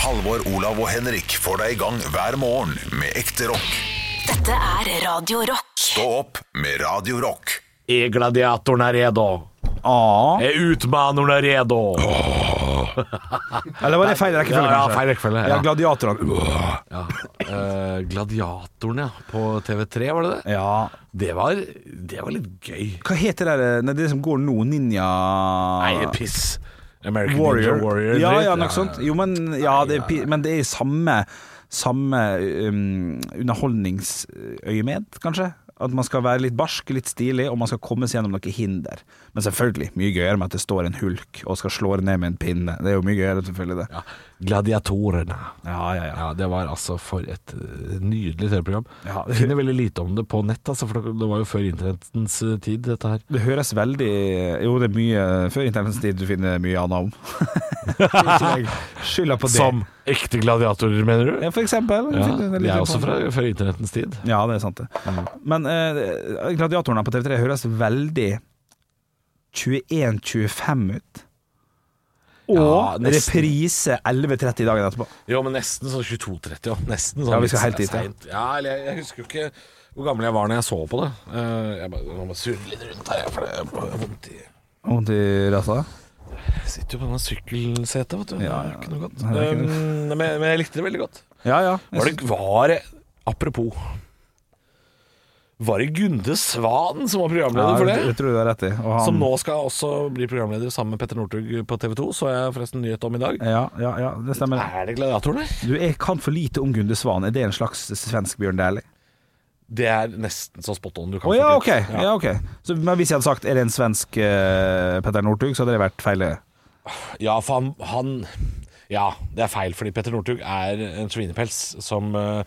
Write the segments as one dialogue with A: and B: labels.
A: Halvor, Olav og Henrik får deg i gang hver morgen med ekte rock.
B: Dette er Radio Rock.
A: Stå opp med Radio Rock.
C: Er gladiatorn E er redo?
D: Ah.
C: Er utmaneren er redo?
D: Eller var det feil rekkefølge,
C: Ja, ja,
D: kanskje?
C: feil rekkefølge,
D: Ja,
C: ja.
D: gladiatorene.
C: Eh, gladiatorn, ja. På TV3, var det det?
D: Ja.
C: Det var, det var litt gøy.
D: Hva heter det der Nei, det som går nå? Ninja
C: Nei, piss. Ah, American
D: Warrior.
C: Ninja Warrior.
D: ja,
C: dritt.
D: ja, nok sånt. Jo, men, ja, det er, pi- men det er i samme, samme um, underholdningsøyemed, kanskje? At man skal være litt barsk, litt stilig, og man skal komme seg gjennom noen hinder. Men selvfølgelig, mye gøyere med at det står en hulk og skal slå ned med en pinne. Det er jo mye gøyere, selvfølgelig, det.
C: Ja, Gladiatorene.
D: Ja, ja, ja.
C: Ja, Det var altså for et eh, nydelig TV-program.
D: Ja.
C: Jeg Finner veldig lite om det på nett, altså, for det var jo før internettens eh, tid, dette her.
D: Det høres veldig Jo, det er mye før internets tid du finner mye annet om. Skylda på det.
C: Som ekte gladiatorer, mener du?
D: Ja, for eksempel.
C: Ja,
D: Fikk du en
C: de
D: liten
C: er også Mm.
D: sånn-
C: fra før internettens tid.
D: Ja, det er sant det. Men eh, gladiatorene på TV3 høres veldig 21-25 ut. Og
C: Ja, nesten.
D: reprise 11.30 dagen etterpå.
C: Jo, men nesten sånn 22.30 ja. Nesten sånn
D: Ja, vi skal
C: litt
D: helt dit, ja.
C: sent. Ja, eller jeg, jeg husker jo ikke hvor gammel jeg var når jeg så på det. Eh, jeg bare, nå må jeg surre litt rundt her, jeg, for det jeg har vondt i
D: Vondt i rassa?
C: Jeg sitter jo på denne sykkelsetet, vet du.
D: Ja,
C: Det er jo ikke noe godt.
D: Nei, det er ikke
C: Um, men, men jeg likte det veldig godt.
D: Ja, ja.
C: Var det, var det Apropos. Var det Gunde Svan som var programleder for
D: Jeg
C: det?
D: tror du har rett i. Og han-
C: Som nå skal også bli programleder sammen med Petter Northug på TV 2, så jeg forresten nyhet om i dag.
D: Ja, ja, ja, det stemmer.
C: Er det gladiatorene?
D: Du, jeg kan for lite om Gunde Svan. Er det en slags svensk Bjørn Dæhlie?
C: Det er nesten så spot on du
D: Å
C: kan
D: ja,
C: få
D: ok.
C: til. Ja.
D: Ja, ok. Så, men hvis jeg hadde sagt er det en svensk eh, Petter Northug, så hadde det vært feil.
C: Ja, for han, han Ja, det er feil, fordi Petter Northug er en svinepels som eh,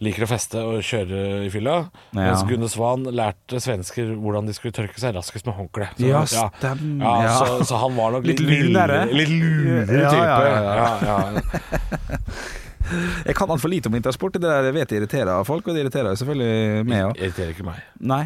C: liker å feste og kjøre i fylla. Mens Gunde Svan lærte svensker hvordan de skulle tørke seg raskest med håndkle. Så,
D: Ja, stem-
C: ja,
D: ja.
C: Så, så han var nok
D: Litt
C: litt,
D: lunere.
C: Litt lunere type.
D: Ja, ja, ja,
C: Ja, ja.
D: Jeg kan altfor lite om intersport. Det der jeg vet jeg irriterer folk, og det irriterer jo selvfølgelig meg òg.
C: Irriterer ikke meg.
D: Nei,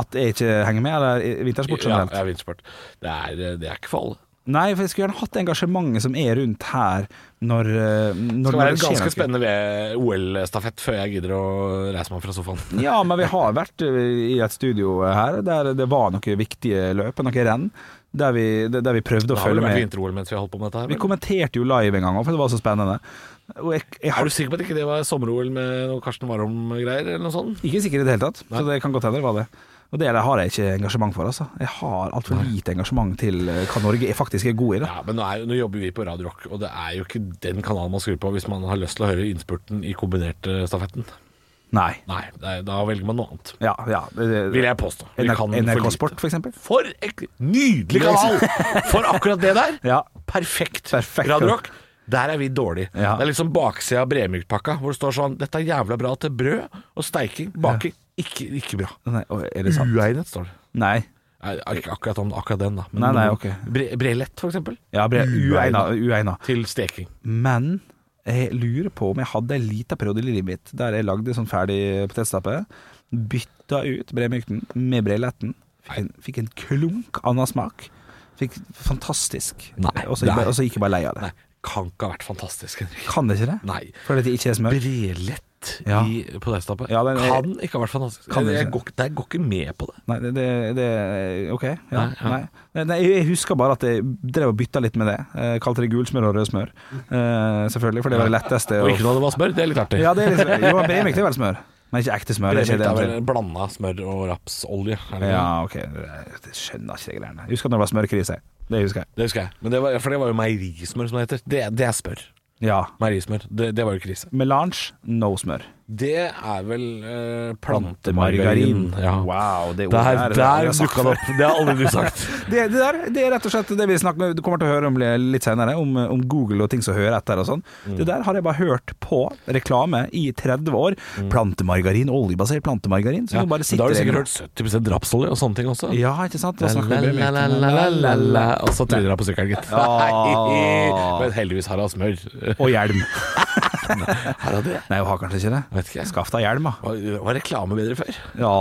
D: at jeg ikke henger med, eller vintersport
C: Ja,
D: generelt.
C: ja, vintersport. Det er, eh, det er ikke for alle.
D: Nei, for jeg skulle gjerne hatt det engasjementet som er rundt her når, eh, når
C: Det skal være en
D: skjer
C: ganske
D: noe.
C: spennende OL-stafett før jeg gidder å reise meg fra sofaen.
D: Ja, men vi har vært eh, i et studio her der det var noen viktige løp, noen renn, der vi, der vi prøvde å
C: Det har vel
D: følge
C: vært
D: med.
C: vinter-OL mens vi har holdt på med dette her.
D: Vi
C: vel?
D: kommenterte jo live en gang òg, for det var så spennende. Og jeg, jeg
C: Er
D: har
C: du sikker på at ikke det var sommer-OL med noe Karsten Warholm-greier eller noe sånt?
D: ikke sikker i det hele tatt, så det kan godt hende det var det. Og det der har jeg ikke engasjement for, altså. Jeg har altfor lite engasjement til eh, hva Norge er- faktisk er god i, da.
C: Ja, men nå, er, nå jobber vi på Radio Rock, og det er jo ikke den kanalen man skrur på hvis man har lyst til å høre innspurten i kombinertstafetten.
D: Nei.
C: Nei, det er, da velger man noe annet.
D: Ja, ja. det-
C: Vil jeg påstå. Vi kan for
D: NRK
C: lite.
D: Sport, for eksempel.
C: For en nydelig kanal! For akkurat det der.
D: Ja.
C: Perfekt.
D: Perfekt.
C: Radio Rock. Der er vi dårlige.
D: Ja.
C: Det er liksom baksida av Bremyk-pakka, hvor det står sånn Dette er jævla bra til brød og steiking. Baking ikke, ikke bra.
D: Nei, oi, er det sant?
C: Uegnet, står det.
D: Nei.
C: Nei, Ikke akkurat, om- akkurat den, da. Men
D: Nei, nei, ok.
C: bre brelett, for eksempel.
D: Ja, ble uegna, uegna.
C: Til steking.
D: Men jeg lurer på om jeg hadde en liten periode i livet mitt der jeg lagde sånn ferdig potetstappe, bytta ut bremykten med breletten, fikk en, fikk en klunk annen smak. Fikk fantastisk.
C: Nei,
D: og, så gikk,
C: nei.
D: jeg- og så gikk jeg bare lei av det.
C: Nei, kan ikke ha vært fantastisk, Henrik.
D: Kan det ikke det?
C: Nei.
D: Fordi det ikke er smør?
C: Brelett
D: Ja.
C: i potetstappe
D: Ja, den-
C: kan ikke ha vært fantastisk.
D: Kan det
C: jeg,
D: ikke.
C: går, ikke- jeg går ikke med på det.
D: Nei, det, det, det OK. Ja,
C: Nei, ja.
D: nei. Nei, nei, jeg husker bare at jeg drev og bytta litt med det. Eh, kalte det gulsmør og rødsmør. Eh, selvfølgelig, for det var det letteste.
C: Og
D: å-
C: ikke noe det var smør. Det er litt artig.
D: Ja, det er liksom, jo, Bremyk det er vel smør, men ikke ekte smør. Det er
C: Bremyk
D: ikke det.
C: er vel
D: omtrent.
C: blanda smør og rapsolje. er det ikke
D: Ja,
C: det?
D: ok, jeg skjønner ikke de greiene. Jeg Husker når det var smørkrise. Det husker jeg.
C: Det husker jeg. Men det var, for det var jo meierismør, som det heter. Det, det er smør.
D: Ja.
C: Meierismør. Det, det var jo krise.
D: Melange, no smør.
C: Det er vel eh,
D: Plantemargarin.
C: plantemargarin. Ja.
D: Wow, det ordet
C: Der,
D: er-
C: der
D: jeg har
C: dukka det opp. Det har aldri du sagt.
D: Det, det der det er rett og slett det vi snakker med, du kommer til å høre om det litt senere, om, om Google og ting som hører etter og sånn.
C: Mm.
D: Det der har jeg bare hørt på reklame i 30 år. Plantemargarin, oljebasert plantemargarin.
C: Mm.
D: Så
C: Ja,
D: du bare
C: men da har
D: sitter
C: du sikkert
D: i-
C: hørt 70 rapsolje og sånne ting også.
D: Ja, ikke sant? Da snakker vi
C: La, la, la, la, la, la. Og så tryner han på sykkelen, gitt.
D: Ah.
C: Men heldigvis har han smør.
D: Og hjelm.
C: Har han det?
D: Nei, hun har kanskje ikke det.
C: Vet ikke.
D: Skaff deg hjelm, da.
C: Var, var reklame bedre før?
D: Ja.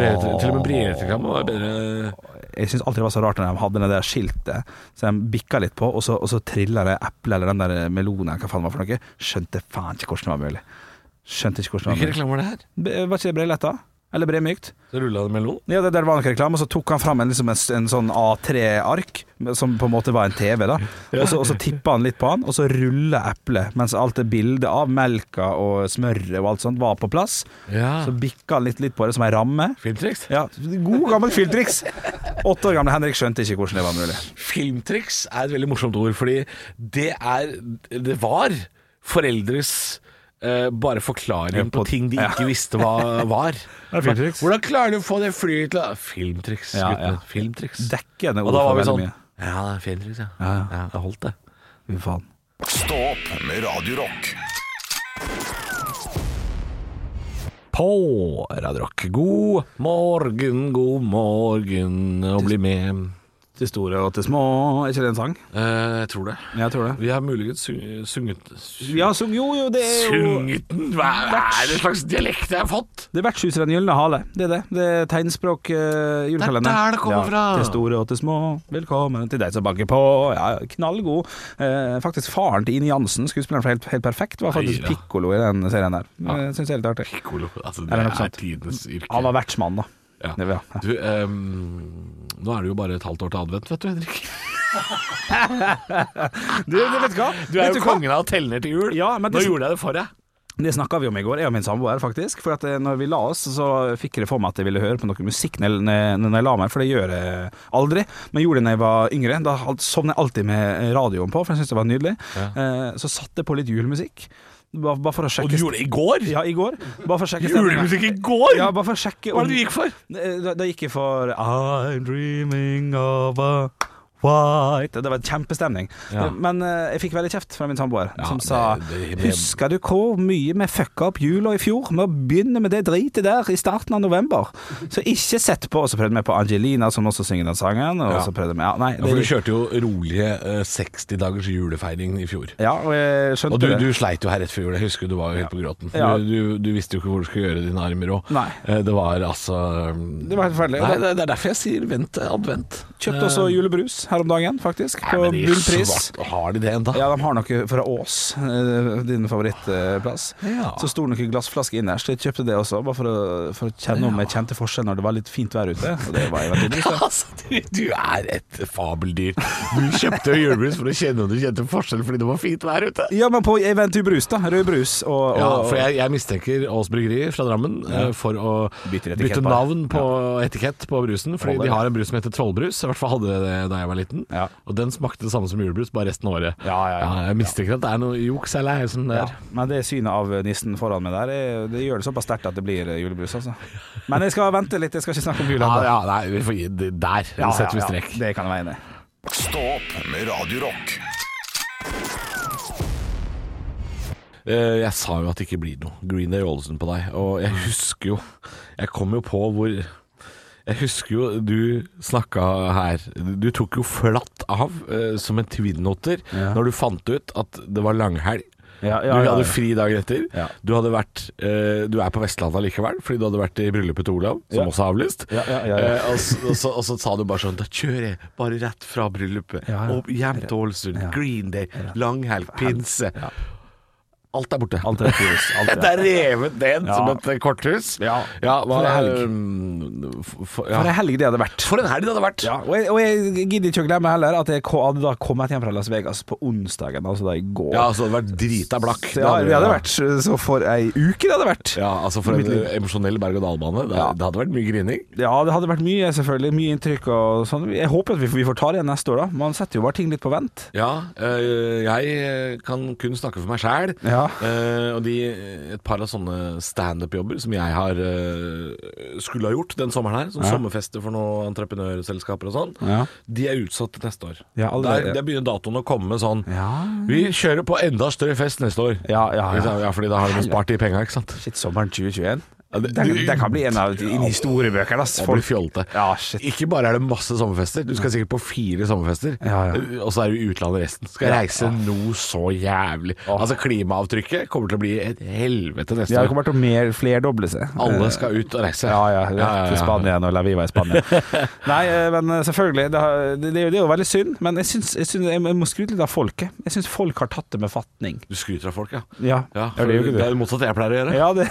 C: Brevet- Til og med brillereklame var bedre.
D: Jeg syns alltid det var så rart når de hadde det der skiltet som de bikka litt på, og så, og så trilla det eple eller den der melonen eller hva faen det var for noe. Skjønte faen ikke hvordan det var mulig. Skjønte ikke hvordan det
C: Hvilken
D: var
C: reklame
D: mulig.
C: var det her?
D: Be- Var ikke det Breletta? Eller Bremykt?
C: Så rulla det melon?
D: Ja, det der var noe reklame, og så tok han fram en, liksom en, s- en sånn A3-ark, som på en måte var en TV, da. Og så, og så tippa han litt på han, og så rulla eplet, mens alt det bildet av melka og smøret og alt sånt var på plass.
C: Ja.
D: Så bikka han litt, litt på det som ei ramme.
C: Filmtriks?
D: Ja, God gammel filmtriks! Åtte år gamle Henrik skjønte ikke hvordan det var mulig.
C: Filmtriks er et veldig morsomt ord, fordi det er Det var foreldres eh, bare
D: Ja,
C: forklaring
D: på-
C: på ting de
D: ja.
C: ikke visste hva var.
D: er filmtriks.
C: Hvordan klarer du å få det flyet til å Filmtriks,
D: Ja,
C: guttene.
D: ja.
C: Filmtriks.
D: Dekkende
C: Og
D: ord
C: da var
D: for
C: vi
D: veldig
C: sånn
D: mye.
C: Ja, det er filmtriks, ja.
D: Ja, ja.
C: ja. Det holdt, det.
D: Fy faen.
A: Stå opp med Radio Rock.
C: På Radio Rock. God morgen, god morgen, og bli med.
D: Til store og til små Er ikke det en sang?
C: Eh, jeg tror det.
D: Jeg tror det.
C: Vi har muligens sung- sunget
D: Ja, så, jo, jo, det er jo
C: Sunget den? Hva er det slags dialekt jeg har fått?
D: Det er Vertshuset Den gylne hale. Det er det. Det er tegnspråk eh, julekalender.
C: Det er der det kommer fra.
D: Til store og til små. Velkommen til deg som banker på. Ja, knallgod. Eh, faktisk faren til Ine Jansen, skuespilleren fra helt, helt Perfekt, var
C: Nei
D: faktisk
C: da.
D: pikkolo i den serien der. Ja. Syns jeg er litt artig.
C: Pikkolo. Altså, det
D: Eller
C: er,
D: noe sånt.
C: tidenes yrke.
D: Han var vertsmann, da.
C: Ja.
D: Det, ja.
C: Du, ehm, nå er det jo bare et halvt år til advent, vet du, Henrik.
D: Du, du vet hva? Vet hva?
C: av å telle ned til jul.
D: Ja, men det-
C: gjorde jeg det for deg.
D: Det snakka vi om i går, jeg og min samboer, faktisk. For at eh, når vi la oss, så fikk jeg det for meg at jeg ville høre på noe musikk når når- når jeg la meg, for det gjør jeg aldri. Men jeg gjorde det når jeg var yngre. Da hal- sovnet jeg alltid med radioen på, for jeg syntes det var nydelig. Eh, Så satte jeg på litt julemusikk. Bare, bare for å
C: Og
D: sjekke
C: du gjorde det i går?
D: Ja, i går. Bare for å sjekke stemningen.
C: Julemusikk i går?
D: Ja, bare for å sjekke
C: Hva er det du gikk for?
D: eh, Da, da gikk jeg for I'm dreaming of a white Det var kjempestemning.
C: Ja.
D: Men eh, jeg fikk veldig kjeft fra min samboer,
C: Ja,
D: som
C: det-
D: sa
C: det- det-
D: Husker du hvor mye vi fucka opp jula i fjor med å begynne med det dritet der i starten av november? Så ikke sett på. Og så prøvde vi på Angelina, som også synger den sangen. Og
C: Ja.
D: så prøvde vi ja, Nei,
C: Ja, for du
D: det,
C: kjørte jo rolige eh, 60 dagers julefeiring i fjor.
D: ja, og jeg skjønte
C: Og du,
D: det.
C: du sleit jo her rett før jul, jeg husker du var jo helt på gråten.
D: Ja.
C: Du, du, du visste jo ikke hvor du skulle gjøre dine armer og
D: Nei.
C: eh, Det var altså
D: Det var helt forferdelig.
C: Nei, det, det er derfor jeg sier vent til advent. Eh,
D: Kjøpte også julebrus her om dagen, faktisk. På
C: Men i
D: bunnpris.
C: svart, Har de det enda?
D: Ja, de har noe fra Ås, eh, din favorittplass.
C: Ja.
D: Så sto det noen glassflasker innerst. Jeg kjøpte det også, bare for å, for å kjenne om jeg kjente forskjell når det var litt fint vær ute. Og det var jeg veldig lyst til.
C: Altså, du, du er et fabeldyr. Du kjøpte jo julebrus for å kjenne om du kjente forskjell fordi det var fint vær ute.
D: Ja, men på Eventu brus, da. Rød brus og, og
C: Ja, for jeg, jeg mistenker Aas Bryggeri fra Drammen eh, for å
D: Bytter etikett
C: bytte
D: bare.
C: navn på etikett på brusen. Fordi
D: Holder
C: de
D: det.
C: har en brus som heter Trollbrus, i hvert fall hadde det da jeg var liten.
D: Ja.
C: Og den smakte det samme som julebrus, bare resten av året.
D: Ja, ja, ja.
C: jeg mistenker at det er noe juks eller noe sånt
D: Ja,
C: der.
D: men det synet av nissen foran meg der, eh, det- det gjør det såpass sterkt at det blir julebrus, altså. Men jeg skal vente litt, jeg skal ikke snakke om jul
C: Ja,
D: ennå.
C: ja, nei, vi får, gi- det- der setter vi strek.
D: Det kan jeg være enig i.
A: Stå opp med Radio Rock.
C: Eh, Jeg sa jo at det ikke blir noe Green Day Olsen på deg Og
D: Mm.
C: jeg husker jo Jeg kom jo på hvor Jeg husker jo du snakka her Du tok jo flatt av eh, Som en tvinnnoter
D: Ja.
C: Når du fant ut at det var langhelg
D: Ja,
C: du
D: ja, ja,
C: hadde
D: ja.
C: fri dagen etter.
D: Ja.
C: Du hadde vært eh, Du er på Vestlandet likevel, fordi du hadde vært i bryllupet til Olav, som
D: Ja.
C: også er avlyst.
D: Ja, ja, ja, ja.
C: Eh, og, så, og, så, og så sa du bare sånn Da kjører jeg bare rett fra bryllupet
D: Ja, ja.
C: og hjem til Ålesund. Green Day, langhelg, pinse. Alt er borte.
D: Alt er julebrus. Alt
C: Det er revet ned
D: Ja.
C: som et eh, korthus.
D: Ja.
C: hva,
D: For en helg.
C: um, f- for,
D: For
C: ja.
D: ei helg det hadde vært.
C: for en helg det hadde vært!
D: Ja, og jeg, og jeg gidder ikke å glemme heller at jeg ko- hadde da kommet hjem fra Las Vegas på onsdagen, altså da i går.
C: Ja, altså, det hadde vært drita blakk.
D: Så ja, det hadde vært så for ei uke det hadde vært.
C: Ja, altså For
D: Mitt
C: en
D: liv.
C: eh, emosjonell berg-og-dal-bane. Det,
D: Ja.
C: det hadde vært mye grining.
D: Ja, det hadde vært mye, selvfølgelig. Mye inntrykk og sånn. Jeg håper at vi, vi får ta det igjen neste år, da. Man setter jo bare ting litt på vent.
C: Ja, øh, jeg øh, kan kun snakke for meg sjæl.
D: Ja.
C: Eh, og de, et par av sånne standup-jobber som jeg har øh, skulle ha gjort den sommeren her, som sommerfester for noen entreprenørselskaper og sånn,
D: Ja.
C: de er utsatt til neste år.
D: Ja, allerede.
C: der, der begynner datoen å komme sånn
D: Ja.
C: Vi kjører på enda større fest neste år.
D: Ja, ja, ja.
C: Ikke sant? fordi da har de spart de penga, ikke sant.
D: Shit, sommeren 2021.
C: Ja,
D: Det, det kan bli en av inn i historiebøkene. ass.
C: Det blir
D: Folk-
C: fjolte.
D: Ja, shit.
C: Ikke bare er det masse sommerfester, du skal sikkert på fire sommerfester,
D: Ja, ja.
C: eh, og så er du i utlandet resten. Skal reise noe så jævlig. Altså Klimaavtrykket kommer til å bli et helvete neste
D: Ja, det
C: år.
D: kommer til å mer, flerdoble seg. Eh,
C: Alle skal ut og reise.
D: Ja, ja. Rett til Spania når La Viva i Spania. Nei, eh, men eh, selvfølgelig. Det, har, det, det er jo- det er jo veldig synd, men jeg, syns, jeg, syns, jeg må skryte litt av folket. Jeg syns folk har tatt det med fatning.
C: Du skryter av folk, ja.
D: Ja,
C: ja
D: det
C: for
D: er jo
C: det,
D: ikke det.
C: er det motsatte jeg pleier å gjøre.
D: Ja, det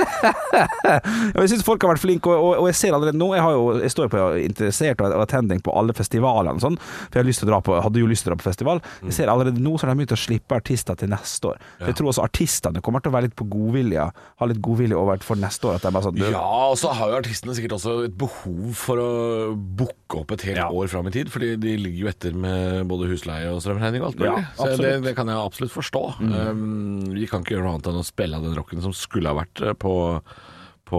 D: Og Jeg syns folk har vært flinke, og, og, og jeg ser allerede nå Jeg, har jo, jeg står jo på interessert og, og attending på alle festivalene og sånn, for jeg har lyst til å dra på, hadde jo lyst til å dra på festival.
C: Mm.
D: Jeg ser allerede nå så har de begynt å slippe artister til neste år. For Jeg tror også artistene kommer til å være litt på godvilja, ha litt godvilje over for neste år. At de bare sånn
C: Ja, og så har jo artistene sikkert også et behov for å booke opp et helt
D: Ja.
C: år fram i tid, fordi de ligger jo etter med både husleie og strømregning og alt mulig. så
D: Ja,
C: det,
D: absolutt. Mm.
C: det kan jeg absolutt forstå. Um, vi kan ikke gjøre noe annet enn å spille av den rocken som skulle ha vært eh, på på,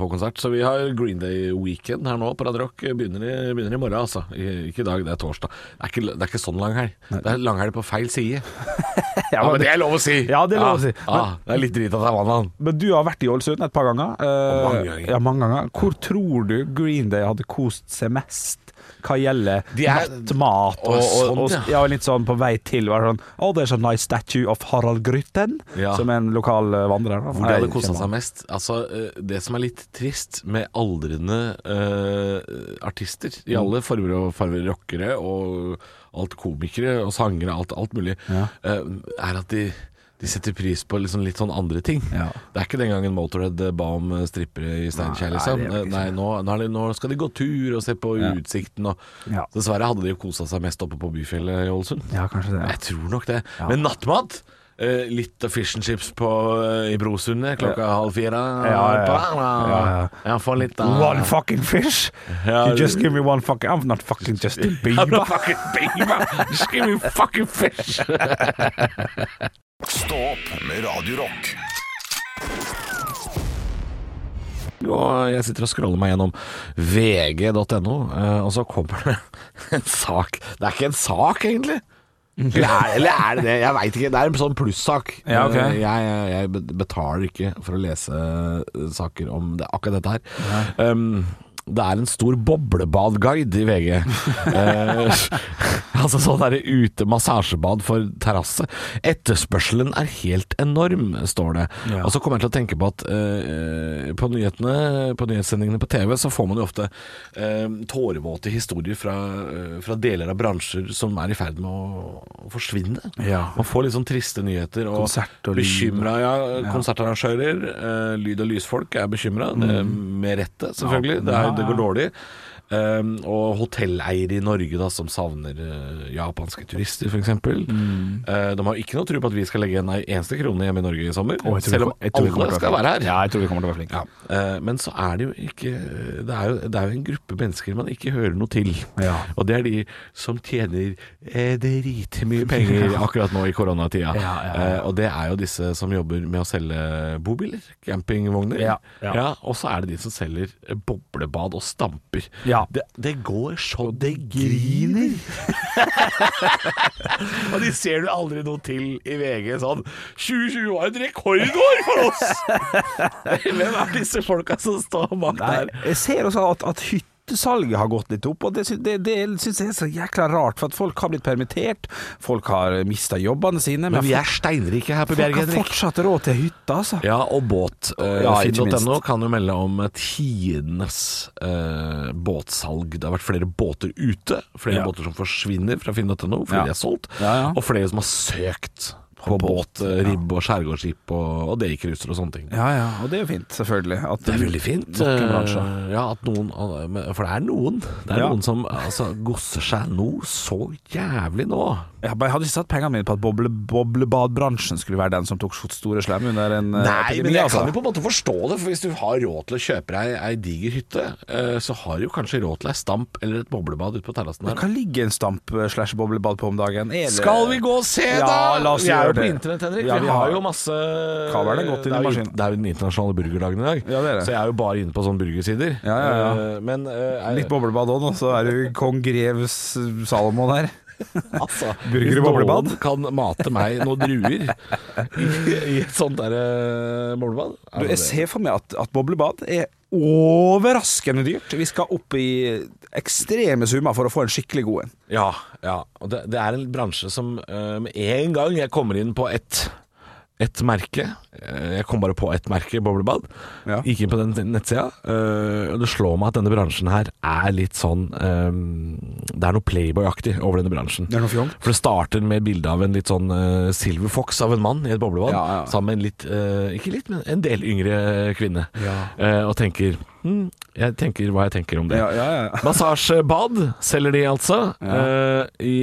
C: på konsert, så vi har Green Day Weekend her nå på Radio Rock. Begynner i, begynner i morgen, altså. I- Ikke i dag, det er torsdag. Det er ikke, det er ikke sånn langhelg. Det er langhelg på feil side. Ja, men det er lov å si!
D: Ja, det er lov å si.
C: Ja, ja, det er litt drit at det er mandag.
D: Men du har vært i Ålesund et par ganger. Eh,
C: mange ganger.
D: Ja, mange ganger. Hvor tror du Green Day hadde kost seg mest? Hva gjelder
C: De er-
D: nattmat og,
C: Å,
D: og, og,
C: sånn,
D: ja, litt sånn på vei til var det sånn, oh, There's a nice statue of Harald Grytten,
C: Ja.
D: som er en lokal eh, vandrer. da.
C: Hvor de hadde
D: Nei,
C: kosa
D: kjenner
C: seg
D: han.
C: mest. Altså, eh, det som er litt trist med aldrende eh, artister, i
D: Mm.
C: alle former og farver, rockere og alt komikere og sangere, alt, alt mulig, eh, er at de de setter pris på liksom litt sånn andre ting.
D: Ja.
C: Det er ikke den gangen Motorhead eh, ba om eh, strippere i Steinkjer,
D: Nei,
C: liksom.
D: det er
C: Eh,
D: det ikke.
C: Nei, nå, nå, er det, nå skal de gå tur og se på utsikten og
D: Ja.
C: Dessverre hadde de jo kosa seg mest oppe på Byfjellet i Ålesund.
D: Ja, kanskje det.
C: Jeg tror nok det. Men nattmat eh, Litt av fish and chips på, eh, i Brosundet klokka halv fire.
D: Ja, ja, ja.
C: ja.
D: Ja, ja.
C: få litt av
D: One fucking fish!
C: Ja,
D: You just
C: det-
D: give me one fucking I'm not fucking Justin Bieber.
C: Fucking baby, just give me fucking fish!
A: Stå opp med Radio Rock.
C: Og jeg sitter og scroller meg gjennom vg.no, eh, og så kommer det en sak. Det er ikke en sak, egentlig. Eller er, eller er det det? Jeg veit ikke. Det er en sånn plussak.
D: Ja, ok.
C: Eh, jeg, jeg- jeg betaler ikke for å lese eh, saker om det, akkurat dette her. Um, det er en stor boblebadguide i VG. Eh, altså sånn derre ute massasjebad for terrasse. Etterspørselen er helt enorm, står det.
D: Ja.
C: Og så kommer jeg til å tenke på at eh, på nyhetene, på nyhetssendingene på TV, så får man jo ofte eh, tårevåte historier fra, eh, fra deler av bransjer som er i ferd med å forsvinne.
D: Ja.
C: Man får litt sånn triste nyheter og
D: Konsert og lyd.
C: bekymra ja, konsertarrangører. eh, lyd- og lysfolk er bekymra,
D: Mm.
C: med rette selvfølgelig. Det, er, det går dårlig. Um, og hotelleiere i Norge da, som savner eh, japanske turister, f.eks. Mm. de har ikke noe tro på at vi skal legge en ei eneste krone hjemme i Norge i sommer.
D: Å, jeg tror vi
C: selv om
D: kom- jeg tror vi kommer
C: alle
D: til å
C: skal være her.
D: Ja, jeg tror vi kommer til å være flinke.
C: Ja, eh, men så er det jo ikke det er jo, det er jo en gruppe mennesker man ikke hører noe til.
D: Ja.
C: Og det er de som tjener eh, dritmye penger akkurat nå i koronatida.
D: Ja, ja, ja.
C: Eh, og det er jo disse som jobber med å selge bobiler, campingvogner.
D: Ja, ja.
C: og så er det de som selger eh, boblebad og stamper.
D: Ja.
C: Det, det går så det griner! og de ser du aldri noe til i VG sånn 2020 var et rekordår for oss! Hvem er disse folka som står bak
D: Nei,
C: der?
D: jeg ser også at, at hyttesalget har gått litt opp, og det, sy- det, det syns jeg er så jækla rart. For at folk har blitt permittert, folk har mista jobbene sine. Men,
C: er steinrike her på
D: folk har fortsatt råd til hytte, altså.
C: Ja, og båt. Eh,
D: Ja, ikke
C: Finn.no
D: minst.
C: kan jo melde om eh, tidenes eh, båtsalg. Det har vært flere båter ute, flere
D: Ja.
C: båter som forsvinner fra Finn.no fordi
D: Ja.
C: de er solgt,
D: Ja, ja.
C: og flere som har søkt på, båt,
D: båt,
C: eh, ribb og skjærgårdsskip og, og daycruiser og sånne ting.
D: Ja ja, og det er jo fint, selvfølgelig. At
C: Det er veldig fint.
D: Nok en
C: eh,
D: bransje.
C: Ja, at noen, men- for det er noen. Det er
D: Ja.
C: noen som altså, gosser seg noe så jævlig nå.
D: Ja, men jeg hadde ikke satt pengene mine på at boble, boblebadbransjen skulle være den som tok store slem under en eh,
C: Nei,
D: epidemi.
C: men jeg
D: altså.
C: kan jo på en måte forstå det, for hvis du har råd til å kjøpe deg ei diger hytte, eh, så har du jo kanskje råd til ei stamp eller et boblebad ute på terrassen
D: Men
C: der.
D: Hva ligger en stamp eh, slash boblebad på om dagen? Er det-
C: Skal vi gå og se,
D: Ja,
C: da?
D: la
C: vi
D: oss
C: er
D: gjøre
C: jo på
D: det.
C: internett, Henrik.
D: Ja,
C: vi,
D: vi
C: har
D: har-
C: jo masse
D: Kabelen er gått inn i
C: Det jo-
D: maskinen.
C: Det er jo den internasjonale burgerdagen i dag,
D: Ja, det er det.
C: så jeg er jo bare inne på sånne burgersider.
D: Ja, ja, ja.
C: Eh, Men eh, er-
D: Litt boblebad òg, nå, så er det jo kong grev S- Salomo der.
C: Altså, hvis
D: Burger i boblebad?
C: noen kan mate meg noen druer i, i et sånt der eh, boblebad
D: Du,
C: er det
D: jeg ser for meg at, at boblebad er overraskende dyrt. Vi skal opp i ekstreme summer for å få en skikkelig god en.
C: det? Ja, ja. Og det, det er en bransje som eh, med en gang jeg kommer inn på ett et merke eh, Jeg kom bare på ett merke, boblebad.
D: Ja.
C: Gikk inn på den nettsida. eh, Og det slår meg at denne bransjen her er litt sånn eh, Det er noe Playboy-aktig over denne bransjen.
D: Det er noe fjong.
C: For det starter med et bilde av en litt sånn eh, silver fox av en mann i et boblebad,
D: Ja, ja.
C: sammen med en litt, eh, ikke litt, men en del yngre kvinne,
D: Ja.
C: Eh, og tenker hm, Jeg tenker hva jeg tenker om det.
D: Ja, ja, ja.
C: Massasjebad selger de altså. Eh, i,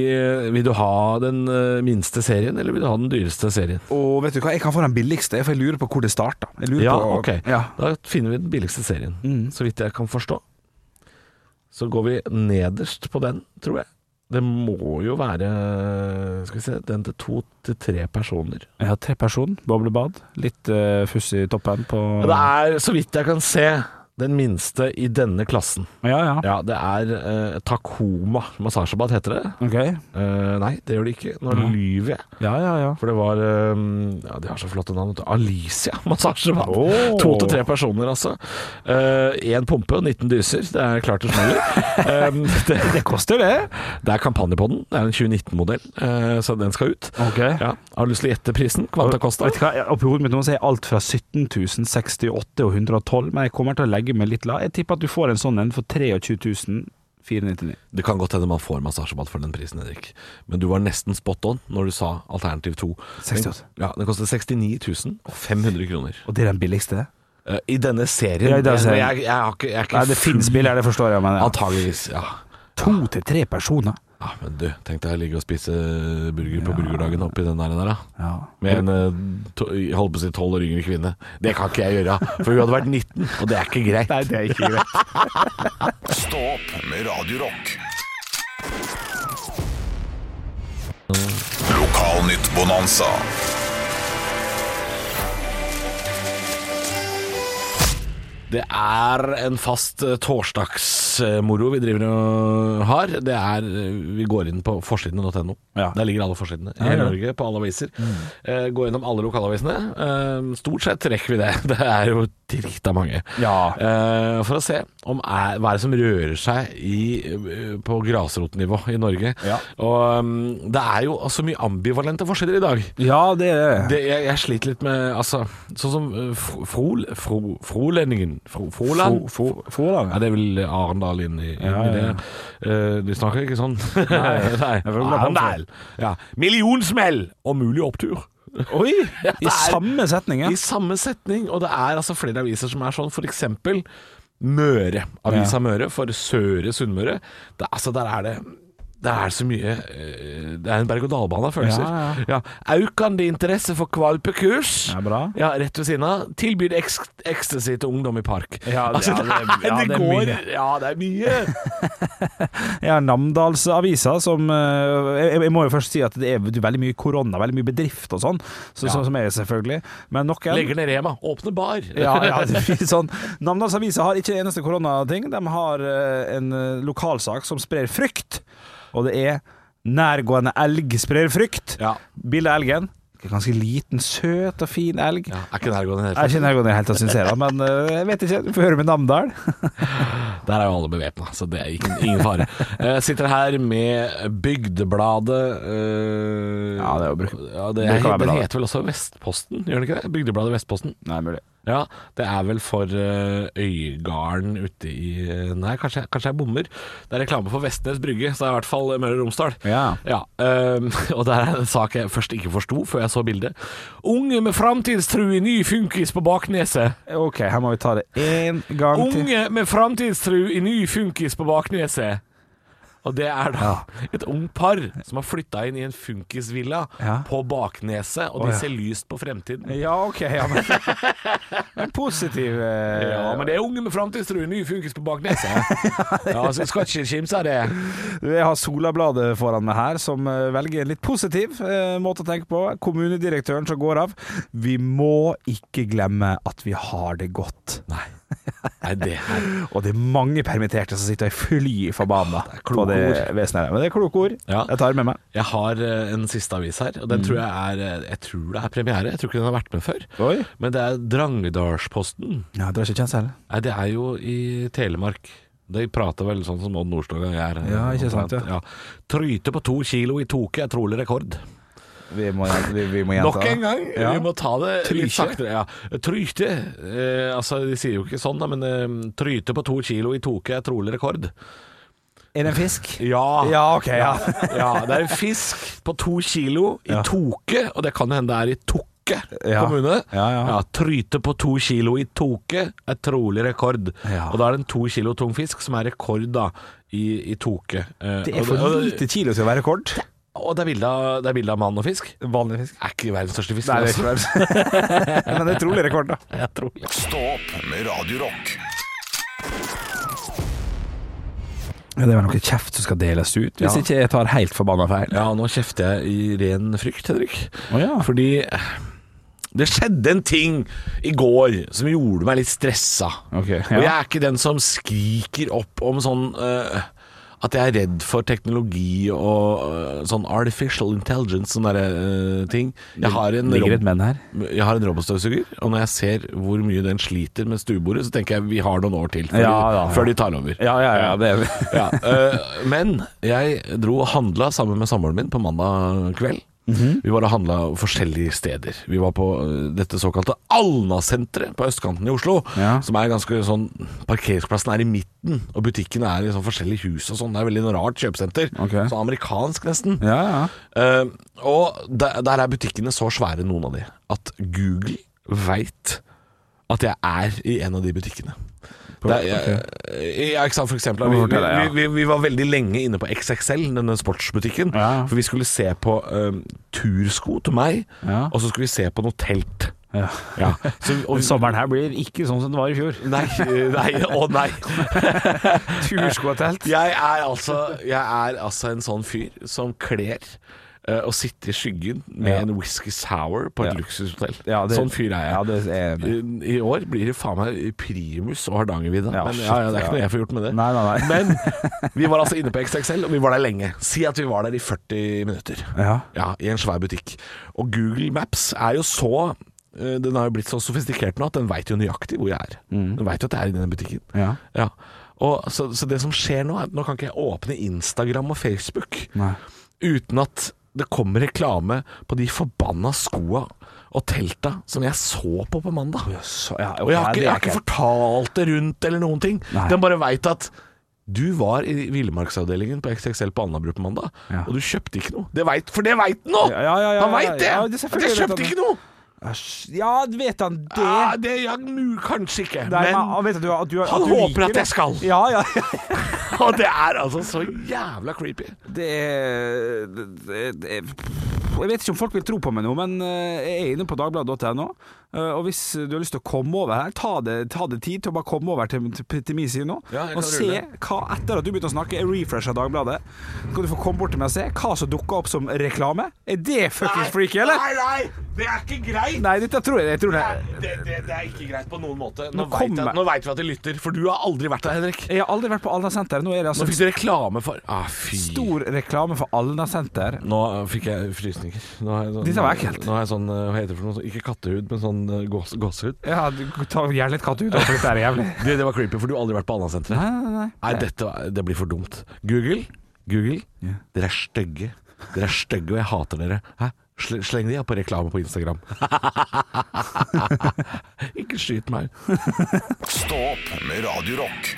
C: vil du ha den eh, minste serien, eller vil du ha den dyreste serien?
D: Og vet du hva, jeg kan få den billigste, for jeg lurer på hvor det starta. Jeg lurer
C: Ja,
D: på-
C: ok.
D: Ja.
C: Da finner vi den billigste serien, så vidt jeg kan forstå. Så går vi nederst på den, tror jeg. Det må jo være skal vi se, den til to til tre personer.
D: Jeg har tre personer, boblebad, litt eh, fuss i toppen på
C: Det er, så vidt jeg kan se, den minste i denne klassen.
D: Ja, ja.
C: Ja, det er eh, Takoma massasjebad, heter det.
D: Ok.
C: Eh, nei, det gjør det ikke. Nå lyver jeg.
D: Ja, ja, ja.
C: For det var eh, Ja, de har så flotte navn. vet du. Alicia massasjebad.
D: Åh.
C: To til tre personer, altså. Én pumpe og 19 dyser. Det er klart det smeller. um, det, det koster, det. Det er kampanje på den. Det er en 2019-modell, eh, så den skal ut.
D: Ok.
C: Ja. Har du lyst til å gjette prisen? Kvanta Costa?
D: Vet du hva, jeg- Oppi hodet mitt nå så er alt fra 17 068 og 112, men jeg kommer til å legge meg litt lav. Jeg tipper at du får en sånn en for 23 499.
C: Det kan godt hende man får massasjebad for den prisen, Henrik. Men du var nesten spot on når du sa alternativ 2.
D: 68.
C: Den, ja, den koster 69 500 kroner.
D: Og det er den billigste?
C: Eh, I denne serien.
D: Ja, i denne
C: Jeg-
D: serien.
C: Jeg, jeg, har ikke, jeg er ikke
D: Nei, det
C: full-
D: finnes billigere, det forstår jeg, men ja.
C: Antageligvis, ja.
D: to til tre personer.
C: ja. Men du, tenk deg å ligge og spise burger på burgerdagen oppi den der, der da.
D: Ja.
C: Med en eh, to, holdt på å si tolv år yngre kvinne. Det kan ikke jeg gjøre, for hun hadde vært 19, og det er ikke greit.
D: Nei, det er ikke greit.
A: Stå opp med Radio Rock. Lokalnytt Bonanza.
C: Det er en fast eh, torsdagsmoro vi driver og har. Det er, eh, Vi går inn på forsidene.no.
D: Ja.
C: Der ligger alle forsidene i
D: Ja, Mm.
C: hele
D: ja.
C: Norge, på alle aviser. Eh, Gå gjennom alle lokalavisene. Eh, Stort sett rekker vi det. Det er jo drita mange.
D: Ja.
C: Eh, For å se om er, hva er det som rører seg i, eh, på grasrotnivå i Norge.
D: Ja.
C: Og mm, det er jo så mye ambivalente forsider i dag.
D: Ja, det er det.
C: Det, jeg, jeg sliter litt med altså, Sånn som eh, Fro- Frol... Fro, Frolendingen? Fro, Froland?
D: Fro- Fro- Froland, ja.
C: Ja, det er vel Arendal inn i, inn
D: Ja,
C: i det.
D: ja,
C: Eh, de snakker ikke sånn. Nei.
D: Jeg føler det er
C: Arendal! Ja. Millionsmell og mulig opptur.
D: Oi!
C: Ja, det
D: I
C: er-
D: samme setning, ja.
C: I samme setning. Og det er altså flere aviser som er sånn, for eksempel Møre. Avisa
D: Ja.
C: Møre for Søre Sunnmøre. Det- Altså, der er det det er så mye eh, Det er en berg-og-dal-bane av følelser.
D: Ja, ja.
C: Aukande interesse for kvalpekurs.
D: Ja, bra.
C: Ja, rett ved siden av. Tilbyr eks- ecstasy til ungdom i park.
D: Ja, det-
C: altså,
D: ja,
C: det,
D: det- ja,
C: er- det
D: det er
C: går
D: mye.
C: Ja, det er mye.
D: Jeg har Namdalsavisa som eh, jeg, jeg må jo først si at det er veldig mye korona, veldig mye bedrift og sånn, så,
C: Ja.
D: sånn som jeg er selvfølgelig. Men nok en
C: Legger ned Rema. Åpne bar.
D: ja, ja, det blir sånn. Namdalsavisa har ikke en eneste koronating. De har eh, en eh, lokalsak som sprer frykt, og det er 'nærgående elg sprer frykt'.
C: Ja.
D: Bilde av elgen. Ganske liten, søt og fin elg.
C: Ja, er ikke nærgående i det hele tatt.
D: Jeg kjenner jeg går ned helt og syns jeg, da, men eh, jeg vet ikke. Vi får høre med Namdal.
C: Der er jo alle bevæpna, så det er ikke, ingen fare. Jeg sitter her med Bygdebladet eh,
D: Ja, det er jo bruk-
C: ja, det,
D: bruk av
C: Den
D: bladet.
C: heter vel også Vestposten, gjør den ikke det? Bygdebladet Vestposten.
D: Nei, mulig.
C: Ja, det er vel for uh, Øygarden ute i eh, Nei, kanskje, kanskje jeg bommer. Det er reklame for Vestnes Brygge, så det er i hvert fall Møre og Romsdal.
D: Ja.
C: ehm, og det er en sak jeg først ikke forsto før jeg så bildet. Unge med framtidstru i ny funkis på bakneset.
D: Ok, her må vi ta det én gang til.
C: Unge med framtidstru i ny funkis på bakneset. Og det er da et ungt par som har flytta inn i en funkisvilla
D: Ja.
C: på bakneset, og de
D: Å, ja.
C: ser lyst på fremtiden.
D: Ja, ok. Ja, men, men positiv eh,
C: Ja, men det er unge med framtidstru i ny funkis på bakneset. Ja, så skal ikke kimse av det.
D: Du, Jeg har Solabladet foran meg her, som eh, velger en litt positiv eh, måte å tenke på. Kommunedirektøren som går av. Vi må ikke glemme at vi har det godt.
C: Nei. Nei, det er
D: Og det er mange permitterte som sitter og er fly forbanna på
C: kloke
D: det
C: ord.
D: vesenet her. Men det er kloke ord.
C: Ja.
D: Jeg tar det med meg.
C: Jeg har eh, en siste avis her,
D: Mm.
C: og den tror jeg er eh, Jeg tror det er premiere, jeg tror ikke den har vært med før.
D: Oi.
C: Men det er Drangedalsposten.
D: Ja, det er ikke kjent selv.
C: Nei, det er jo i Telemark. De prater vel sånn som Odd Nordstoga er. eh,
D: Ja, ikke sant,
C: omtrent.
D: ja.
C: Tryte på to kilo i toke er trolig rekord.
D: Vi må, gjen- vi, vi må gjenta
C: Nok en gang!
D: Ja.
C: Vi må ta det litt
D: Tryte.
C: saktere. Ja. Tryte eh, Altså, de sier jo ikke sånn, da, men eh, tryte på to kilo i toke er trolig rekord.
D: Er det en fisk?
C: Ja.
D: Ja, ok, ja.
C: ja, det er en fisk på to kilo i
D: Ja.
C: Toke, og det kan jo hende det er i Tokke
D: Ja.
C: kommune.
D: Ja, ja.
C: Tryte på to kilo i Toke er trolig rekord.
D: Ja.
C: Og da er det en to kilo tung fisk som er rekord da i, i Toke. Eh,
D: Det
C: og
D: er for
C: og-
D: lite kilo til å være rekord.
C: Og det er bilde av, det er bilde av mann og fisk.
D: Vanlig fisk.
C: Er ikke verdens største fisk.
D: Nei, det
C: men
D: er ikke det. Men det er trolig rekord, da.
C: altså, jeg tror det.
A: Stå opp med Radio Rock.
D: det er vel noe kjeft som skal deles ut, hvis
C: Ja.
D: ikke jeg tar helt forbanna feil.
C: Ja, nå kjefter jeg i ren frykt, Henrik.
D: Å ja.
C: Fordi eh, det skjedde en ting i går som gjorde meg litt stressa.
D: Ok, ja.
C: Og jeg er ikke den som skriker opp om sånn eh, at jeg er redd for teknologi og eh, sånn artificial intelligence, sånne der, eh, ting. Jeg har en
D: Ligger
C: rom-
D: et menn her.
C: jeg har en robotstøvsuger, og når jeg ser hvor mye den sliter med stuebordet, så tenker jeg vi har noen år til før,
D: Ja,
C: de,
D: ja, ja.
C: før de tar over.
D: Ja, ja, ja. Det er...
C: Ja, øh, men jeg dro og handla sammen med samboeren min på mandag kveld.
D: Mhm.
C: Vi var og handla forskjellige steder. Vi var på øh, dette såkalte Alna-senteret på østkanten i Oslo.
D: Ja.
C: Som er ganske sånn Parkeringsplassen er i midten, og butikkene er i sånn forskjellige hus og sånn. Det er veldig noe rart kjøpesenter.
D: Ok.
C: Så amerikansk, nesten.
D: ja, ja.
C: Eh, og der, der er butikkene så svære, noen av de, at Google veit at jeg er i en av de butikkene. Det er, jeg, ja, ikke sant, for eksempel, vi, vi,
D: Fortell, ja.
C: vi, vi var veldig lenge inne på XXL, denne sportsbutikken.
D: Ja.
C: For vi skulle se på eh, tursko til meg,
D: Ja.
C: og så skulle vi se på noe telt.
D: ja.
C: Ja. Så, og,
D: Sommeren her blir ikke sånn som det var i fjor.
C: nei, eh, nei, å nei.
D: Tursko og telt.
C: Jeg er altså, jeg er altså en sånn fyr som kler eh, å sitte i skyggen med
D: Ja.
C: en whisky sour på et
D: Ja.
C: luksushotell.
D: Ja, det-
C: sånn fyr er jeg. Eh,
D: Ja, det er jeg enig
C: I, I år blir det faen meg primus og Hardangervidda.
D: Ja,
C: men ja, ja, det er
D: shit,
C: ikke noe
D: ja.
C: jeg får gjort med det.
D: Nei, nei, nei.
C: Men vi var altså inne på XXL, og vi var der lenge. Si at vi var der i 40 minutter.
D: Ja.
C: Ja, I en svær butikk. Og Google Maps er jo så eh, Den har jo blitt så sofistikert nå at den veit jo nøyaktig hvor jeg er. Den veit jo at jeg er i denne butikken.
D: Mm. Ja.
C: Og, så, så det som skjer nå, er at nå kan ikke jeg åpne Instagram og Facebook
D: Nei.
C: uten at det kommer reklame på de forbanna skoa og telta som jeg så på på mandag.
D: Så, ja,
C: Og jeg har ikke,
D: det
C: jeg
D: er
C: har ikke fortalt det rundt eller noen ting.
D: Nei.
C: Den bare veit at du var i villmarksavdelingen på XXL på Alnabru på mandag,
D: Ja.
C: og du kjøpte ikke noe. Det vet, for det veit han nå!
D: Ja, ja, ja, ja,
C: han veit det!
D: ja, det er
C: At jeg
D: selvfølgelig vet
C: kjøpte
D: han det.
C: ikke noe!
D: Æsj. Ja, vet han det?
C: Ja, det er jeg nu, kanskje ikke,
D: Nei,
C: men
D: Ah, men han vet at du, at du,
C: Han
D: at du
C: håper
D: liker
C: at
D: det.
C: jeg skal.
D: Ja, ja.
C: Og det er altså så jævla creepy.
D: Det er det- det er- Jeg vet ikke om folk vil tro på meg nå, men eh, jeg er inne på dagbladet.no. eh, Og hvis du har lyst til å komme over her, ta det, ta det tid til å bare komme over til, til, til min side nå.
C: Ja, jeg kan
D: og se
C: rulle.
D: hva, etter at du begynte å snakke, er refresha Dagbladet. Så kan du få komme bort til meg og se hva som dukker opp som reklame. Er det fuckings freaky, eller?
C: Nei, nei, det er ikke greit!
D: Nei, dette tror jeg, jeg tror det.
C: Det, det, det er ikke greit på noen måte. Nå,
D: Nå
C: vet jeg,
D: kommer-
C: nå vet vi at de lytter, for du har aldri vært der, Henrik.
D: Jeg har aldri vært på Alna senter. Nå er det
C: Nå
D: altså
C: fikk du reklame for Ah, fy.
D: stor reklame for Alna senter.
C: Nå fikk jeg frysninger. Nå har jeg sånn,
D: Dette var ekkelt.
C: Nå har jeg sånn, eh, hva heter det for noe? Ikke kattehud, men sånn eh, gås, gåsehud.
D: Ja, du- ta gjerne litt katt ut, da, for dette er jævlig.
C: Det, det var creepy, for du har aldri vært på Alnasenteret.
D: Nei, nei, nei.
C: Nei, dette var- det blir for dumt. Google, Google,
D: Ja.
C: dere er stygge. Dere er stygge, og jeg hater dere. Hæ? Sle- Sleng de opp på reklame på Instagram. ikke skyt meg.
A: Stå opp med Radio Rock.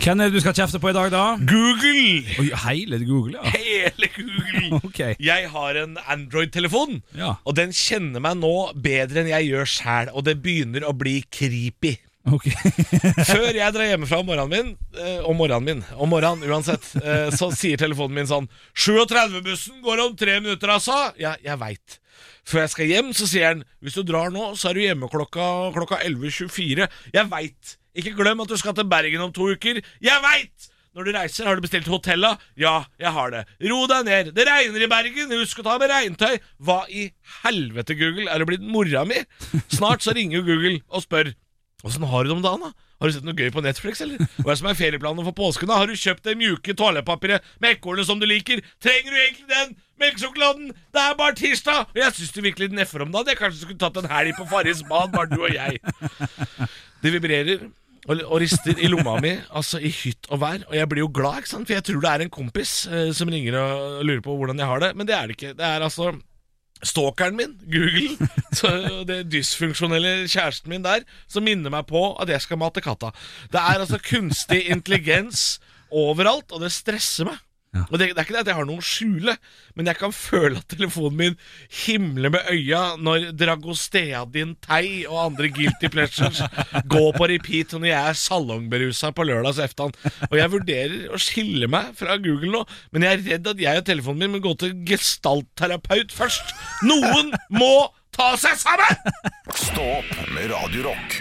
E: Hvem er det du skal kjefte på i dag, da?
F: Google!
E: Oi, hele Google, ja.
F: Hele Google!
E: Ok.
F: Jeg har en Android-telefon,
E: Ja.
F: og den kjenner meg nå bedre enn jeg gjør sjæl, og det begynner å bli creepy.
E: Ok.
F: Før jeg drar hjemmefra om morgenen min, eh, om morgenen min, om morgenen uansett, eh, så sier telefonen min sånn 37-bussen går om tre minutter, altså! Ja, jeg veit. Før jeg skal hjem, så sier han hvis du drar nå, så er du hjemme klokka, klokka 11.24. Jeg veit. Ikke glem at du skal til Bergen om to uker. Jeg veit! Når du reiser, har du bestilt hotella? Ja, jeg har det. Ro deg ned. Det regner i Bergen, husk å ta med regntøy. Hva i helvete, Google? Er det blitt mora mi? Snart så ringer jo Google og spør Åssen har du det om dagen, da? Har du sett noe gøy på Netflix, eller? Hva er det som er ferieplanene for påsken, da? Har du kjøpt det mjuke toalettpapiret med ekornet som du liker? Trenger du egentlig den? Melkesjokoladen! Det er bare tirsdag! Og jeg syns du virkelig neffer om dagen. Jeg kanskje skulle tatt en helg på Farris bad, bare du og jeg. Det vibrerer og, og rister i lomma mi, altså i hytt og vær. Og jeg blir jo glad, ikke sant? for jeg tror det er en kompis eh, som ringer og lurer på hvordan jeg har det. Men det er det ikke. Det er altså stalkeren min, Google, så, og det dysfunksjonelle kjæresten min der, som minner meg på at jeg skal mate katta. Det er altså kunstig intelligens overalt, og det stresser meg. Og det, det er ikke det at jeg har noe å skjule, men jeg kan føle at telefonen min himler med øya når Dragosteadin Tei og andre guilty pleasures går på repeat når jeg er salongberusa på lørdags eftan. Og jeg vurderer å skille meg fra Google nå, men jeg er redd at jeg og telefonen min må gå til gestaltterapeut først. Noen må ta seg sammen!
A: Stå opp med Radio Rock.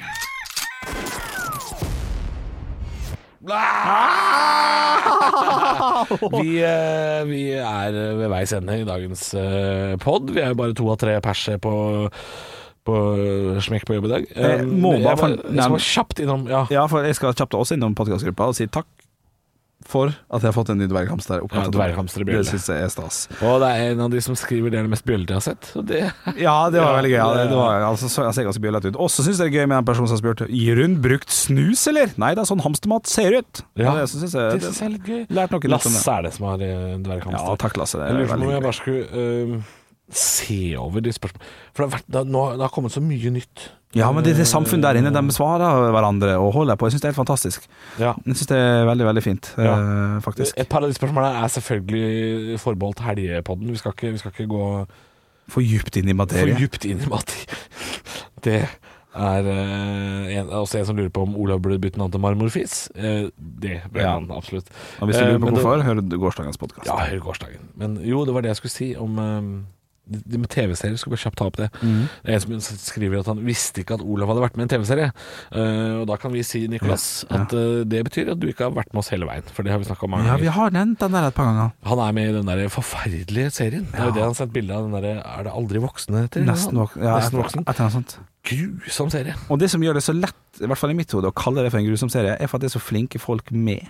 C: Vi, eh, vi er ved veis ende i dagens eh, pod. Vi er jo bare to av tre pers her på på smekk på jobb i dag.
D: Jeg må
C: Eh,
D: bare
C: jeg,
D: få-
C: jeg, jeg skal bare kjapt innom ja.
D: Ja, for jeg skal kjapt også innom podkastgruppa og si takk for at jeg har fått en ny dverghamster. oppkalt
C: Ja,
D: etter
C: dverghamster i
D: meg.
C: bjelle.
D: Det syns jeg er stas.
C: Og det er en av de som skriver det er det mest bjøllete jeg har sett. Og det
D: Ja, det var
C: Ja,
D: veldig gøy. Ja, det,
C: det-
D: det var, altså, så, jeg ser ganske bjøllete ut. Også syns jeg det er gøy med den personen som har spurt Gir hun brukt snus, eller? Nei da, sånn hamstermat ser ut. Ja, det synes jeg,
C: det synes jeg er litt gøy.
D: Lært noe nytt om det.
C: Lasse er det som har eh, dverghamster.
D: Ja, takk, Lasse. Det er
C: Jeg lurer på om jeg
D: veldig hyggelig.
C: bare skulle eh, se over de spørsmålene. For det har, vært, det, har, nå, det har kommet så mye nytt.
D: Ja, men det, det samfunnet der inne, de besvarer hverandre og holder på. Jeg syns det er helt fantastisk.
C: Ja.
D: Jeg syns det er veldig, veldig fint,
C: Ja.
D: eh, faktisk.
C: Et par av de spørsmålene er selvfølgelig forbeholdt helgepodden. Vi skal ikke, vi skal ikke gå
D: For djupt inn i
C: for
D: materie.
C: djupt inn i mat. Det er eh, en, også en som lurer på om Olav burde bytte navn til Marmorfis. Eh, det bør
D: Ja.
C: han absolutt.
D: Og hvis du
C: Eh,
D: lurer
C: men
D: på
C: det-
D: hvorfor, hør gårsdagens podkast.
C: Ja, hør gårsdagen. Men jo, det var det jeg skulle si om eh, de- de med TV-serier skal bare kjapt ta opp det.
D: Mm.
C: Det er En som skriver at han visste ikke at Olav hadde vært med i en TV-serie. Eh, og da kan vi si, Niklas, at eh, det betyr at du ikke har vært med oss hele veien. For det har vi snakka om mange
D: Ja,
C: ganger.
D: vi har nevnt den der et par ganger.
C: Han er med i den der forferdelige serien. Det er jo det han har sett bilde av. Den der, er det aldri voksne heter?
D: Nesten vok- ja, et-
C: Nesten voksen.
D: et eller annet sånt.
C: Grusom serie.
D: Og det som gjør det så lett, i hvert fall i mitt hode, å kalle det for en grusom serie, er for at det er så flinke folk med.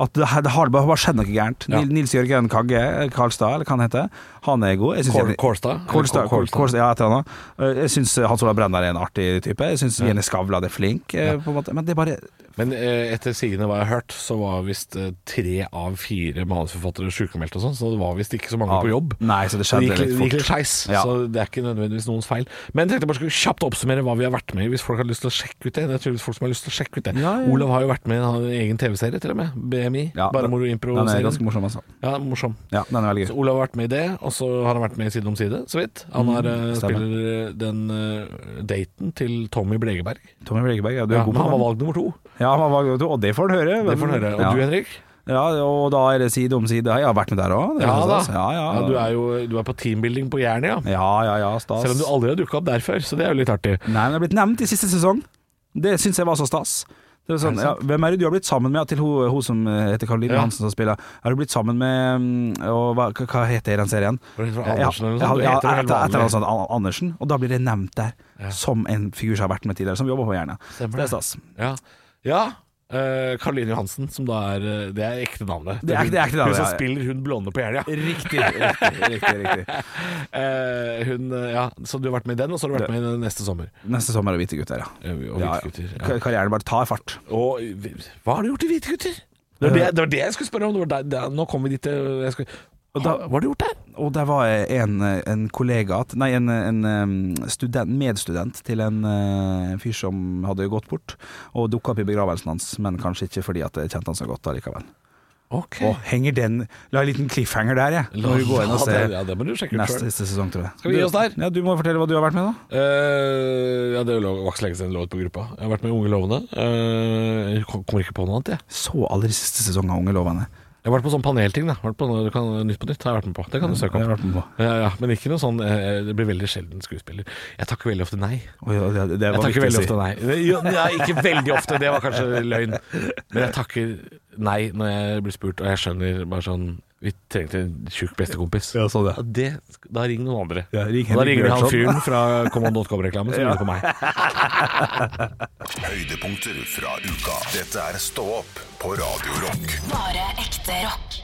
D: At det, her- det har det bare, bare skjedd noe gærent.
C: Ja.
D: Nil- Nils Jørgen Kagge, eh, Karlstad, eller hva han heter, han er god. Jeg synes
C: Kål-
D: Jenny-
C: Kålstad.
D: Kålstad,
C: Kål- Kålstad.
D: Kålstad, ja, et eller annet. Eh, Jeg syns Hans Olav Brenner er en artig type. Jeg syns Jenny Skavlan er flink, eh, på en måte. Men det er bare
C: Men eh, etter sigende hva jeg har hørt, så var visst eh, tre av fire manusforfattere sykemeldt og sånn, så det var visst ikke så mange på jobb.
D: Nei, så det
C: Så Det gikk,
D: skjedde
C: det gikk
D: litt
C: litt
D: fort.
C: skeis,
D: Ja.
C: så det er ikke nødvendigvis noens feil. Men jeg tenkte bare skulle kjapt oppsummere hva vi har vært med i, hvis folk har lyst til å sjekke ut det. Det er tydeligvis folk som har lyst til å sjekke ut det.
D: Ja, ja.
C: Olav har jo vært med i en han har en egen TV-serie, til og med. BMI.
D: Ja,
C: bare
D: den-
C: moro impro.
D: Den er ganske morsom, altså.
C: Ja, morsom.
D: Ja, den er veldig
C: Så
D: gøy.
C: Olav har vært med i det, og så har han vært med i Side om side, så vidt. Han har, eh,
D: Mm, stemmer.
C: spiller eh, den eh, daten til Tommy Blegeberg.
D: Tommy Blegeberg, ja, du
C: Ja,
D: er god
C: men
D: på
C: han var
D: den.
C: valg nummer to.
D: Ja, han var valg. Og det får han høre.
C: Det får han høre. Og
D: ja.
C: du, Henrik?
D: Ja, og da er det side om side. Jeg har vært med der òg.
C: Ja da.
D: Ja, ja.
C: Ja, du er jo du er på teambuilding på Jernia.
D: ja, ja, ja, stas.
C: Selv om du aldri har dukka opp der før, så det er jo litt artig.
D: Nei, men jeg har blitt nevnt i siste sesong. Det syns jeg var så stas. Det er sånn, ja, hvem er det du har blitt sammen med? Ja, Til hun, hun som heter Karoline
C: Ja.
D: Hansen som spiller. Har du blitt sammen med mm, og hva, hva- hva heter den serien?
C: Hva heter det,
D: Ja,
C: Andersen eller noe
D: ja,
C: sånt? Du
D: ja,
C: heter det helt
D: etter- etter
C: vanlig.
D: noe sånt, An- Andersen. Og da blir det nevnt der som en figur som har vært med tidligere, som jobber på Jernia. Så
C: Stemmer
D: Det
C: det.
D: er stas.
C: Ja. ja. eh, Karoline Johansen, som da er eh, Det er ekte navnet.
D: Det er- det er ekte
C: Hun
D: navnet,
C: som
D: ja.
C: spiller hun blonde på Jeløya.
D: Riktig, riktig, riktig, riktig.
C: Eh, hun, eh, ja, så du har vært med i den, og så har du vært med i den neste sommer.
D: Neste sommer er det Hvite gutter, ja.
C: Eh, Og
D: Ja,
C: Hvite
D: ja.
C: gutter. Ja.
D: Kar- Karrieren bare tar fart.
C: Og vi- hva har du gjort i Hvite gutter? Det
D: Eh.
C: var det, det, var det jeg skulle spørre om. Det var der, der, nå kom vi dit eh, jeg skulle, ha, Hva har du gjort der?
D: Og der var en, en kollega at- Nei, en, en um, student, medstudent til en eh, fyr som hadde gått bort, og dukka opp i begravelsen hans, men kanskje ikke fordi at jeg kjente han så godt allikevel.
C: Ok
D: Og henger den La en liten cliffhanger der, jeg.
C: La-
D: Når du går inn og
C: Ja, det-
D: ser
C: ja, det må du sjekke ut
D: neste
C: selv.
D: neste sesong, tror jeg.
C: Skal vi gi oss der?
D: Du- Ja, du må fortelle hva du har vært med, da.
C: Eh, ja, det lå- var ikke så lenge siden det lå ute på gruppa. Jeg har vært med i Unge lovende. Eh, jeg kom- kommer ikke på noe annet, jeg.
D: Så aldri siste sesong av Unge lovende.
C: Jeg har vært på sånn panelting. da vært på noe, du kan, Nytt på nytt har jeg vært med på. Det kan du søke
D: Det har jeg vært
C: om.
D: med på.
C: Ja, ja, men ikke noe sånn eh, Det blir veldig sjelden skuespiller. Jeg takker veldig ofte nei.
D: Oi, oi, det, det
C: Jeg
D: var
C: takker
D: viktig å
C: veldig
D: si.
C: ofte nei. Jo, nei, ikke veldig ofte, det var kanskje løgn. Men jeg takker nei når jeg blir spurt, og jeg skjønner bare sånn Vi trengte en tjukk bestekompis.
D: Ja, sånn, ja.
C: det, da ringer noen andre.
D: Ja, ring
C: Og da
D: Henrik
C: ringer han
D: Bjørnson.
C: fyren fra command.com-reklamen som ringer på meg.
A: Høydepunkter fra uka. Dette er Stå opp på Radio Rock.
B: Bare ekte rock.